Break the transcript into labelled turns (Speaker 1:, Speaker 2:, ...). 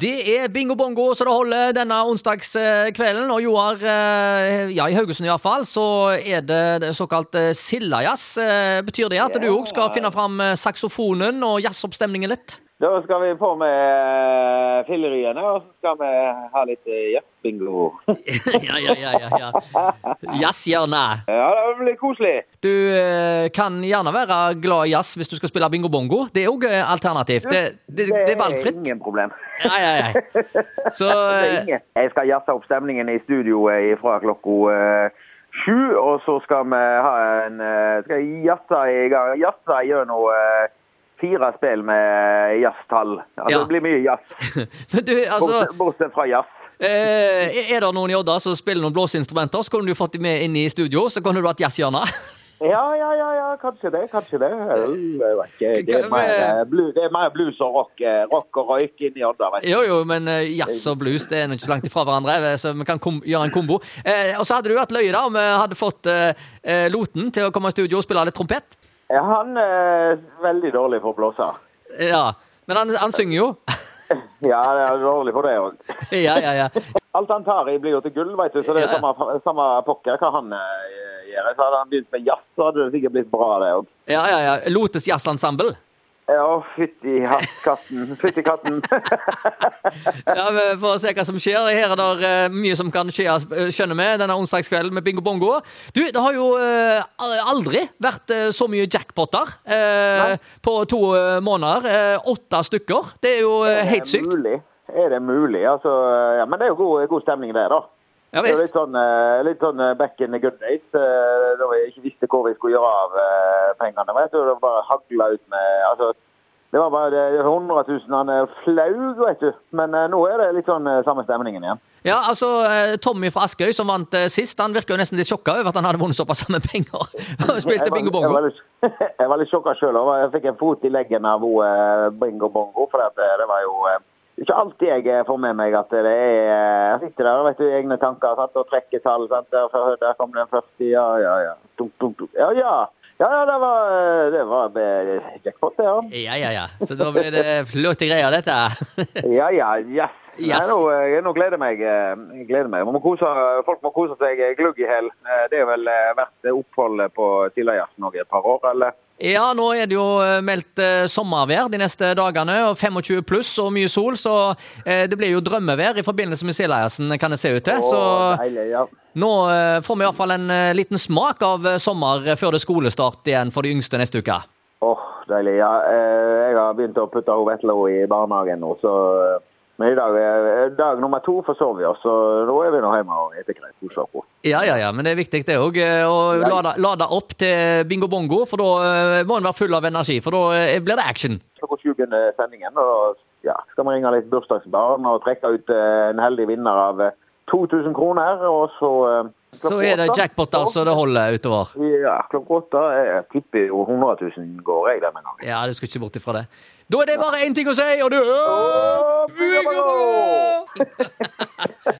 Speaker 1: Det er bingo bongo så det holder denne onsdagskvelden. Og Joar, eh, ja, i Haugesund iallfall, så er det det såkalt eh, sildajazz. Eh, Betyr det at du òg skal finne fram eh, saksofonen og jazzoppstemningen litt?
Speaker 2: Da skal vi på med eh, filleriene, og så skal vi ha litt eh, jazzbingo.
Speaker 1: ja, ja, ja. ja, ja. Jazzhjørnet.
Speaker 2: Ja, det blir koselig.
Speaker 1: Du eh, kan gjerne være glad i jazz hvis du skal spille bingo bongo. Det er òg eh, alternativt. Det, det, det er valgfritt.
Speaker 2: ingen problem.
Speaker 1: Nei, nei, nei. Så
Speaker 2: Det er
Speaker 1: eh,
Speaker 2: ingen. Jeg skal jazze opp stemningen i studioet fra klokka eh, sju, og så skal vi ha en eh, Skal jeg jazze i gang Jazze gjennom eh, fire spill med jazztall. Altså,
Speaker 1: Ja.
Speaker 2: Det blir mye jazz,
Speaker 1: eh, Men du, altså
Speaker 2: bortsett, bortsett fra jazz.
Speaker 1: Eh, er det noen i Odda som spiller noen blåseinstrumenter, så kunne du fått dem med inn i studio, så kunne du hatt jazzhjørne.
Speaker 2: Ja, ja, ja, ja, kanskje det. Kanskje det. Jeg vet ikke. Det er mer, eh, blues, det er mer blues og rock, eh, rock og røyk inni Odda. vet du.
Speaker 1: Jo, jo, men eh, jazz og blues det er nå ikke så langt ifra hverandre, eh, så vi kan kom gjøre en kombo. Eh, og så hadde du vært løye da om vi hadde fått eh, eh, Loten til å komme i studio og spille litt trompet.
Speaker 2: Ja, Han er veldig dårlig for å blåse.
Speaker 1: Ja, Men han, han synger jo.
Speaker 2: Ja, det er dårlig for det òg.
Speaker 1: ja, ja, ja.
Speaker 2: Alt han tar i blir jo til gull, vet du, så det er
Speaker 1: Ja, ja.
Speaker 2: samme, samme pokker hva han eh, gjør. Så hadde han begynt med jazz, så hadde det sikkert blitt bra, det òg.
Speaker 1: ja, ja, ja. Lotes jazzensemble.
Speaker 2: Ja, fytti hatt- katten. Fytti katten.
Speaker 1: Ja, vi får se hva som skjer. Her er det eh, mye som kan skje, eh, skjønner vi, denne onsdagskvelden med Bingo Bongo. Du, det har jo eh, al- aldri vært eh, så mye jackpotter eh,
Speaker 2: Nei.
Speaker 1: på to eh, måneder. Eh, Åtte stykker. Det er jo eh, helt sykt.
Speaker 2: Er det mulig? Er det mulig? Altså, ja, men det er jo god, god stemning der, da.
Speaker 1: Ja
Speaker 2: Det er jo
Speaker 1: visst.
Speaker 2: litt sånn, eh, litt sånn eh, back in the good days, eh, da vi ikke visste hvor vi skulle gjøre av eh, pengene. Vet du, det bare hagla ut med altså, Det var bare det- 100 000 han er flau, vet du. Men eh, nå er det litt sånn eh, samme stemningen igjen.
Speaker 1: Ja, altså, eh, Tommy fra Askøy som vant eh, sist, han virker jo nesten litt sjokka over at han hadde vunnet såpass med penger. Han
Speaker 2: Jeg
Speaker 1: spilte
Speaker 2: var-
Speaker 1: Bingo
Speaker 2: Jeg
Speaker 1: Bongo.
Speaker 2: var litt, jeg var litt sjokka sjøl. Jeg fikk en fot i leggen av hun, eh, Bingo Bongo. For at eh, det var jo eh, ikke alltid jeg eh, får med meg at det er eh, Jeg sitter der vet du, i egne tanker sant, og trekker tall. Sant, der, for- der kom den 40, ja, ja, ja. Dunk, dunk, dunk. Ja, ja. Ja, ja, det var, eh, det var eh, jackpot, det, ja.
Speaker 1: Ja, ja, ja. Så da blir det flotte greier, dette.
Speaker 2: Ja, ja, yes.
Speaker 1: Yes.
Speaker 2: Nei, nå, eh, nå gleder jeg meg. eh, Jeg gleder meg. Man må kose, folk må kose seg eh, glugg i hæl. Eh, Det er vel eh, verdt eh, oppholdet på Sildajazzen òg i et par år, eller?
Speaker 1: Ja, nå er det jo eh, meldt eh, sommervær de neste dagene. og 25 pluss og mye sol, så eh, det blir jo drømmevær i forbindelse med Sildaheisen, kan det se ut til. Så
Speaker 2: Å, deilig, ja.
Speaker 1: nå eh, får vi iallfall en eh, liten smak av eh, sommer eh, før det er skolestart igjen for de yngste neste uke.
Speaker 2: Åh, deilig. Ja, eh, jeg har begynt å putte hun Vetle i barnehagen nå, så eh, men i dag er dag nummer to forsov vi oss, så nå er vi nå hjemme og spiser greit koser oss.
Speaker 1: Ja, ja, ja, men det er viktig det òg. Å lade, lade opp til bingo bongo, for da eh, må en være full av energi. For da eh, blir det action.
Speaker 2: Klokka sju begynner sendingen, og ja, skal vi ringe litt bursdagsbarn og trekke ut eh, en heldig vinner av eh, 2000 kroner, og så eh,
Speaker 1: Så
Speaker 2: klokka
Speaker 1: er det
Speaker 2: åtte-
Speaker 1: jackpot altså. der så det holder utover.
Speaker 2: Ja, klokka åtte eh, jeg tipper jo 100 000 går jeg denne gangen.
Speaker 1: Ja, du skal ikke bort ifra det. Da er det bare én ting å si, og du er
Speaker 2: Bingo Bongo!